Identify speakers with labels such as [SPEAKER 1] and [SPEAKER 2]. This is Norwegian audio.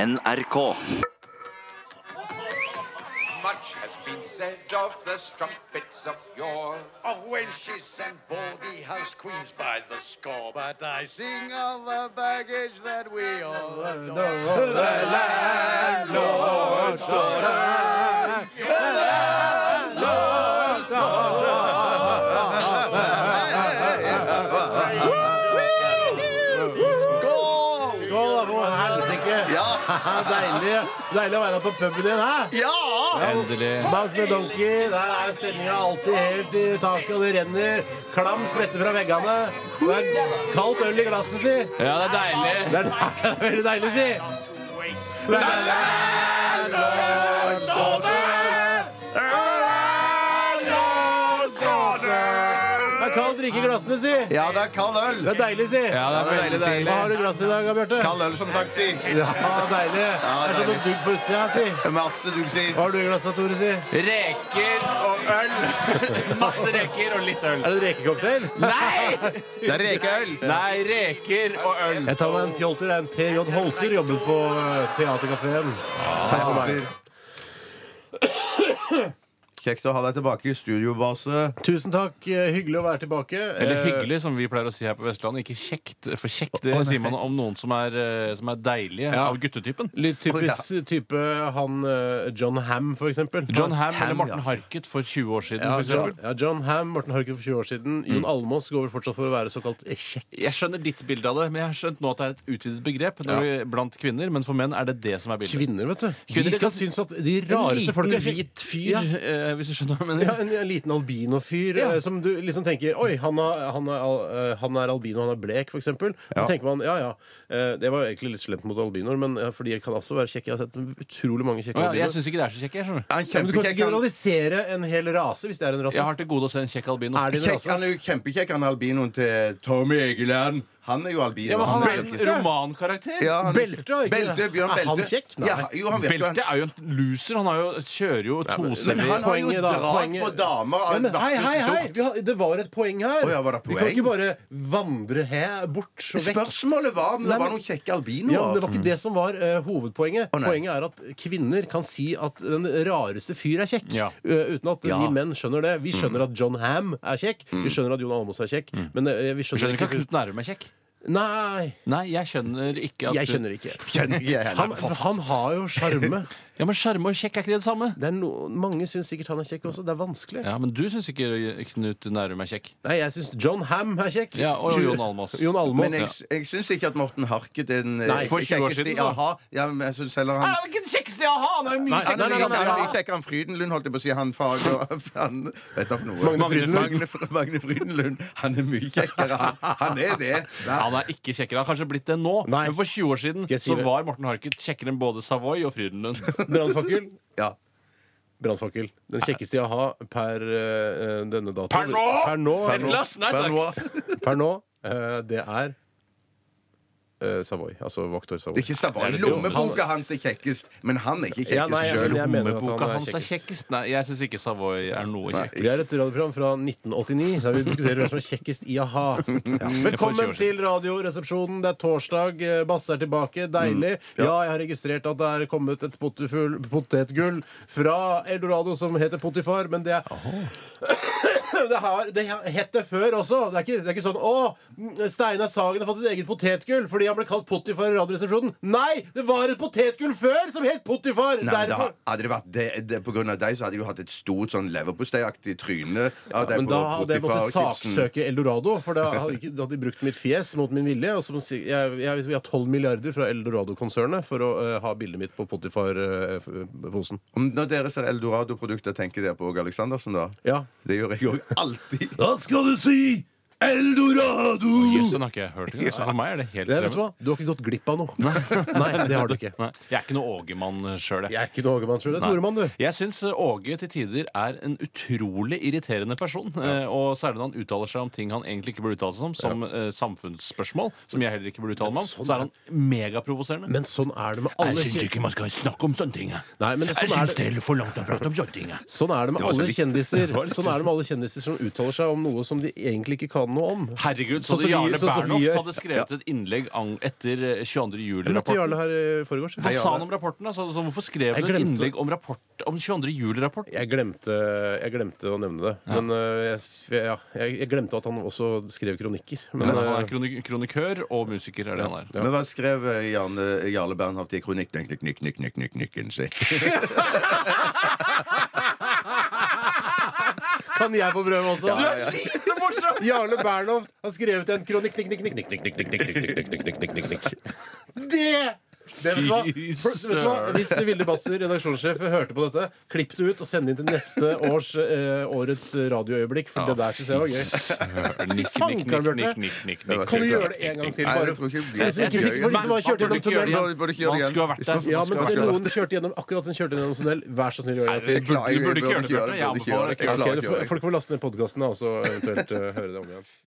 [SPEAKER 1] NRK.
[SPEAKER 2] Much has been said of the strumpets of yore, of wenches and baldy house queens by the score. But I sing of the baggage that we all adore.
[SPEAKER 3] Skål, da, for helsike! Deilig, deilig å være på puben din, hæ?
[SPEAKER 4] Endelig.
[SPEAKER 3] Bounce the donkey, der er stemninga alltid helt i taket, og det renner klam svette fra veggene. Det er kaldt øl i glasset, si.
[SPEAKER 4] Ja, det er deilig.
[SPEAKER 3] Det er, det er veldig deilig, si. Det er Det er kald drikke i glassene, si.
[SPEAKER 5] Ja, det er kald øl.
[SPEAKER 3] Det er deilig, si.
[SPEAKER 4] Ja, det er veldig deilig.
[SPEAKER 3] Hva har du i glasset i dag, Bjarte?
[SPEAKER 5] Kald øl, som sagt, si.
[SPEAKER 3] Ja, deilig. det er sånn noe
[SPEAKER 5] deilig.
[SPEAKER 3] dugg på utsida, si.
[SPEAKER 5] Masse dugg, si.
[SPEAKER 3] Hva har du i glasset, Tore, si?
[SPEAKER 4] Reker og øl. Masse reker og litt øl.
[SPEAKER 3] Er det en rekecocktail?
[SPEAKER 4] Nei!
[SPEAKER 5] Det er rekeøl.
[SPEAKER 4] Nei, reker og øl.
[SPEAKER 3] Jeg tar meg en pjolter. Jeg er en PJ Holter, jobbet på Theatercaféen.
[SPEAKER 4] Ah.
[SPEAKER 3] Takk for meg.
[SPEAKER 5] Kjekt å ha deg tilbake i studiobase.
[SPEAKER 3] Tusen takk. eh, Hyggelig å være tilbake.
[SPEAKER 4] Eller
[SPEAKER 3] Eh,
[SPEAKER 4] hyggelig, som vi pleier å si her på Vestlandet. Ikke kjekt, for kjekt det sier man om noen som er, eh, som er deilige
[SPEAKER 3] Ja.
[SPEAKER 4] av guttetypen.
[SPEAKER 3] Litt typisk Eh, type han eh, John Ham, for eksempel.
[SPEAKER 4] John Ham,
[SPEAKER 5] Ham,
[SPEAKER 4] eller Morten
[SPEAKER 5] ja.
[SPEAKER 4] Harket for 20 år siden,
[SPEAKER 3] Ja,
[SPEAKER 4] for
[SPEAKER 3] John,
[SPEAKER 4] eksempel. Mm.
[SPEAKER 3] ja, John Ham, Morten Harket for 20 år siden. Jon Almås går vel fortsatt for å være såkalt kjekk.
[SPEAKER 4] Jeg skjønner ditt bilde av det, men jeg har skjønt nå at det er et utvidet begrep når
[SPEAKER 3] Ja.
[SPEAKER 4] vi, blant kvinner. Men for menn er det det som er bildet.
[SPEAKER 3] Kvinner, vet du.
[SPEAKER 4] Kvinner-
[SPEAKER 3] De skal synes at de
[SPEAKER 4] En
[SPEAKER 3] rareste folk
[SPEAKER 4] liten
[SPEAKER 3] er kjekke.
[SPEAKER 4] hvit fyr,
[SPEAKER 3] Ja.
[SPEAKER 4] eh, hvis du skjønner hva jeg mener.
[SPEAKER 3] Ja, en, en liten albino-fyr
[SPEAKER 4] Ja.
[SPEAKER 3] eh, som du liksom tenker Oi, han er, han er, al- eh, han er albino, han er blek, for eksempel. Så tenker man ja ja, eh, det var egentlig litt slemt mot albinoer, men eh, for de kan også være kjekke. Jeg har sett utrolig mange kjekke
[SPEAKER 4] Å, ja, jeg
[SPEAKER 3] albinoer.
[SPEAKER 4] syns ikke det er så kjekk, jeg. skjønner du.
[SPEAKER 5] Han er
[SPEAKER 3] Ja, men du kan ikke
[SPEAKER 5] kjempekjekk. Han,
[SPEAKER 3] generalisere en hel rase hvis det er en rase.
[SPEAKER 4] Jeg har til gode å se en kjekk albino.
[SPEAKER 3] Er det en
[SPEAKER 5] kjekk,
[SPEAKER 3] rase?
[SPEAKER 5] han er jo kjempekjekk, han albinoen til Tommy Egeland. Han er jo albino.
[SPEAKER 4] Ja, men Han er
[SPEAKER 5] jo
[SPEAKER 4] en romankarakter.
[SPEAKER 5] ja, han-
[SPEAKER 3] Belte, da, ikke?
[SPEAKER 5] Belte, Bjørn
[SPEAKER 3] Er
[SPEAKER 5] Belte.
[SPEAKER 3] han kjekk? Nei.
[SPEAKER 5] Ja, jo, han virker jo
[SPEAKER 4] Belte er jo en loser. Han har jo, kjører jo
[SPEAKER 3] men-
[SPEAKER 4] toser.
[SPEAKER 5] Men han har jo
[SPEAKER 3] Poenget da,
[SPEAKER 5] drag
[SPEAKER 3] poenget-
[SPEAKER 5] på damer.
[SPEAKER 3] Ja,
[SPEAKER 5] av
[SPEAKER 3] men hei, hei, hei!
[SPEAKER 5] vakreste
[SPEAKER 3] Vi har, det var et poeng her.
[SPEAKER 5] Å, ja, var det
[SPEAKER 3] Vi kan
[SPEAKER 5] poeng?
[SPEAKER 3] ikke bare vandre her bort og
[SPEAKER 5] sort.
[SPEAKER 3] vekk.
[SPEAKER 5] Spørsmålet var om
[SPEAKER 3] Nei,
[SPEAKER 5] det var
[SPEAKER 3] men-
[SPEAKER 5] noen kjekke
[SPEAKER 3] Ja, men Det
[SPEAKER 5] albinoer.
[SPEAKER 3] var ikke det som var eh, hovedpoenget.
[SPEAKER 5] nei.
[SPEAKER 3] Poenget er at kvinner kan si at den rareste fyr er kjekk,
[SPEAKER 4] Ja.
[SPEAKER 3] ø, uten at
[SPEAKER 5] Ja.
[SPEAKER 3] vi menn skjønner det. Vi skjønner at John Ham er kjekk, vi skjønner at Jon Almaas er kjekk, men eh, vi
[SPEAKER 4] Jeg
[SPEAKER 3] skjønner,
[SPEAKER 4] skjønner ikke at Knut Nærum er kjekk.
[SPEAKER 3] Nei,
[SPEAKER 4] Nei, jeg skjønner ikke at
[SPEAKER 3] jeg skjønner ikke.
[SPEAKER 5] Skjønner ikke jeg
[SPEAKER 3] Han,
[SPEAKER 5] heller.
[SPEAKER 3] han har jo sjarme.
[SPEAKER 4] Ja, Men skjerme og kjekk er ikke det det samme?
[SPEAKER 3] Det er no, mange syns sikkert han er kjekk også. Det er vanskelig.
[SPEAKER 4] Ja, Men du syns ikke Knut Nærum er kjekk.
[SPEAKER 3] Nei, jeg syns John Ham er kjekk.
[SPEAKER 4] Ja, og Jon Almaas.
[SPEAKER 3] Jon Almaas.
[SPEAKER 5] Men jeg, jeg syns ikke at Morten Harket er den eh,
[SPEAKER 3] Nei,
[SPEAKER 4] for 20 år siden,
[SPEAKER 5] kjekkeste
[SPEAKER 4] så.
[SPEAKER 5] jeg har. Ja, men jeg synes heller han
[SPEAKER 4] Er han ikke den kjekkeste jeg har? Han er jo mye
[SPEAKER 3] Nei,
[SPEAKER 5] Han
[SPEAKER 4] kjekkere.
[SPEAKER 5] er
[SPEAKER 3] nei, nei,
[SPEAKER 5] mye-
[SPEAKER 3] nei,
[SPEAKER 5] han er
[SPEAKER 3] nei.
[SPEAKER 5] mye kjekkere enn Frydenlund, holdt jeg på å si. Han fag han, vet du for noe.
[SPEAKER 3] Magne Frydenlund.
[SPEAKER 5] Magne, Fr- Magne Frydenlund. Han er mye kjekkere, han. Han er det. Nei.
[SPEAKER 4] Han er ikke kjekkere. Han har kanskje blitt det nå,
[SPEAKER 3] Nei.
[SPEAKER 4] men for 20 år siden
[SPEAKER 3] Skal jeg si
[SPEAKER 4] så
[SPEAKER 3] det?
[SPEAKER 4] var Morten Harket kjekkere enn både Savoy og Frydenlund.
[SPEAKER 3] Brannfakkel.
[SPEAKER 5] Ja.
[SPEAKER 3] Brannfakkel. Den kjekkeste jeg har per eh, denne dato.
[SPEAKER 4] Per nå?
[SPEAKER 3] Per nå,
[SPEAKER 4] Per nå. Glass, nei,
[SPEAKER 5] Men
[SPEAKER 4] takk.
[SPEAKER 5] hva- Det
[SPEAKER 3] Per nå, eh, det er eh, Savoy. Altså Vaktor Savoy.
[SPEAKER 5] er ikke Savoy.
[SPEAKER 4] det
[SPEAKER 5] Lommeboka hans er kjekkest, men han er ikke
[SPEAKER 3] Ja, nei, jeg-
[SPEAKER 5] kjekkest sjøl.
[SPEAKER 3] jeg mener at han
[SPEAKER 4] Lommeboka
[SPEAKER 3] er
[SPEAKER 4] hans er
[SPEAKER 3] kjekkest.
[SPEAKER 4] kjekkest. Nei, jeg syns ikke Savoy er noe kjekk.
[SPEAKER 3] Vi er et radioprogram fra 1989 der vi diskuterer hvem som er kjekkest i a-ha. Ja. Velkommen til Radioresepsjonen. Det er torsdag. eh, Basse er tilbake.
[SPEAKER 5] Mm,
[SPEAKER 3] Deilig. Ja, jeg har registrert at det er kommet et potefull- potetgull fra Eldorado som heter Potifar, men det er det, har, det har hett det før også. Det er ikke, det er ikke sånn Å, Steinar Sagen har fått sitt eget potetgull fordi han ble kalt Potifar i Radioresepsjonen. Nei! Det var et potetgull før som het Potifar!
[SPEAKER 5] Nei, men da
[SPEAKER 3] Derfor
[SPEAKER 5] hadde det vært det, det, på grunn av deg så hadde jeg jo hatt et stort sånn leverposteiaktig tryne. av deg
[SPEAKER 3] Men
[SPEAKER 5] på
[SPEAKER 3] da hadde jeg måttet
[SPEAKER 5] Potifar-kipsen.
[SPEAKER 3] saksøke Eldorado, for da hadde, ikke, da hadde de brukt mitt fjes mot min vilje. Og så må si, jeg, jeg, vi har 12 milliarder fra Eldorado-konsernet for å eh, ha bildet mitt på eh, Potifar-posen.
[SPEAKER 5] Om Når dere ser Eldorado-produkter, tenker dere på Åge Aleksandersen, da?
[SPEAKER 3] ja.
[SPEAKER 5] Det gjør jeg jo alltid.
[SPEAKER 3] Da skal du si Eldorado!
[SPEAKER 4] Jøss, den har ikke jeg hørt engang. Så for meg er det helt
[SPEAKER 3] Det, vet
[SPEAKER 4] fremmed.
[SPEAKER 3] du hva? Du har ikke gått glipp av noe. Nei, det har du ikke.
[SPEAKER 4] Nei, Jeg er ikke noe Åge-mann sjøl,
[SPEAKER 3] Jeg er ikke noe Ågemann sjøl. Det er Toremann, du.
[SPEAKER 4] Jeg syns eh, Åge til tider er en utrolig irriterende person. eh, Og særlig når han uttaler seg om ting han egentlig ikke burde uttale seg om, som eh, samfunnsspørsmål, som jeg heller ikke burde uttale meg om,
[SPEAKER 3] sånn
[SPEAKER 4] så er han megaprovoserende.
[SPEAKER 3] Men sånn er det med alle kjen-
[SPEAKER 4] ikke man skal snakke om sånne ting.
[SPEAKER 3] Nei, men sånn er det.
[SPEAKER 4] heller for langt å prate om sånne ting.
[SPEAKER 3] Sånn er det med alle
[SPEAKER 5] likt.
[SPEAKER 3] kjendiser
[SPEAKER 4] Det var litt
[SPEAKER 3] Sånn er det med alle kjendiser som uttaler seg om noe som de egentlig ikke kan han noe om.
[SPEAKER 4] Herregud, så
[SPEAKER 3] Sånn som
[SPEAKER 4] hadde
[SPEAKER 3] vi-
[SPEAKER 4] Jarle
[SPEAKER 3] sånn som vi
[SPEAKER 4] Bernhoft
[SPEAKER 3] gjør.
[SPEAKER 4] hadde skrevet et innlegg ang- etter eh, 22.
[SPEAKER 3] Jeg møtte
[SPEAKER 4] juli-rapporten.
[SPEAKER 3] Jarle her eh, i forgårs.
[SPEAKER 4] Hva sa han om rapporten? da? Så, så, hvorfor skrev
[SPEAKER 3] Jeg
[SPEAKER 4] du et
[SPEAKER 3] glemte-
[SPEAKER 4] innlegg om, rapport, om 22. juli-rapport?
[SPEAKER 3] Jeg glemte, jeg glemte å nevne det. Men øh, jeg, s- ja, jeg, jeg glemte at han også skrev kronikker. Men,
[SPEAKER 4] Han er
[SPEAKER 3] øh,
[SPEAKER 4] kronik kronikør og musiker, er det han er.
[SPEAKER 5] Men hva skrev eh, Jarle, Jarle Bernhoft i kronikken? Knikk, knikk, knikk, knikk, knikk, knikken sin.
[SPEAKER 3] kan jeg få prøve også?
[SPEAKER 4] er lite morsom!
[SPEAKER 3] Jarle Bernhoft har skrevet en kronikk nikk, nikk, nikk, nikk, nikk, nikk, nikk, nikk, nikk, nikk, nikk, nikk, nikk, nikk. Det! Det vet du hva?
[SPEAKER 4] Fy
[SPEAKER 3] For, vet du hva?
[SPEAKER 4] søren.
[SPEAKER 3] Hvis Vilde Basser, redaksjonssjef, hørte på dette, klipp det ut og send det inn til neste års, eh, årets radioøyeblikk, for det der syns jeg var gøy.
[SPEAKER 4] Nikk,
[SPEAKER 3] Faen,
[SPEAKER 4] nikk, nikk,
[SPEAKER 3] Karl Bjørte.
[SPEAKER 4] nikk, nikk, nikk, nikk.
[SPEAKER 3] Kan du gjøre det en gang til,
[SPEAKER 5] Nei,
[SPEAKER 3] bare?
[SPEAKER 5] jeg tror ikke det
[SPEAKER 3] For de som ikke fikk- for de som har kjørt
[SPEAKER 4] Burde
[SPEAKER 3] gjennom
[SPEAKER 4] ikke gjøre det
[SPEAKER 3] tunnelen.
[SPEAKER 4] igjen.
[SPEAKER 5] Burde ikke gjøre
[SPEAKER 4] Man
[SPEAKER 5] det igjen.
[SPEAKER 4] skulle ha vært der.
[SPEAKER 3] Ja, men
[SPEAKER 5] Skal
[SPEAKER 3] det,
[SPEAKER 5] ikke
[SPEAKER 3] noen kjørte gjennom akkurat den kjørte gjennom tunnel. Vær så snill, gjør det en
[SPEAKER 4] Nei,
[SPEAKER 3] til.
[SPEAKER 4] Du burde- du burde ikke gjøre det, Bjarte. Jeg
[SPEAKER 5] Bjarte.
[SPEAKER 4] anbefaler
[SPEAKER 5] Jeg
[SPEAKER 4] ikke å
[SPEAKER 3] Ok,
[SPEAKER 5] klarer ikke å gjøre det.
[SPEAKER 3] folk får laste ned podkasten og så eventuelt eh, høre det om igjen.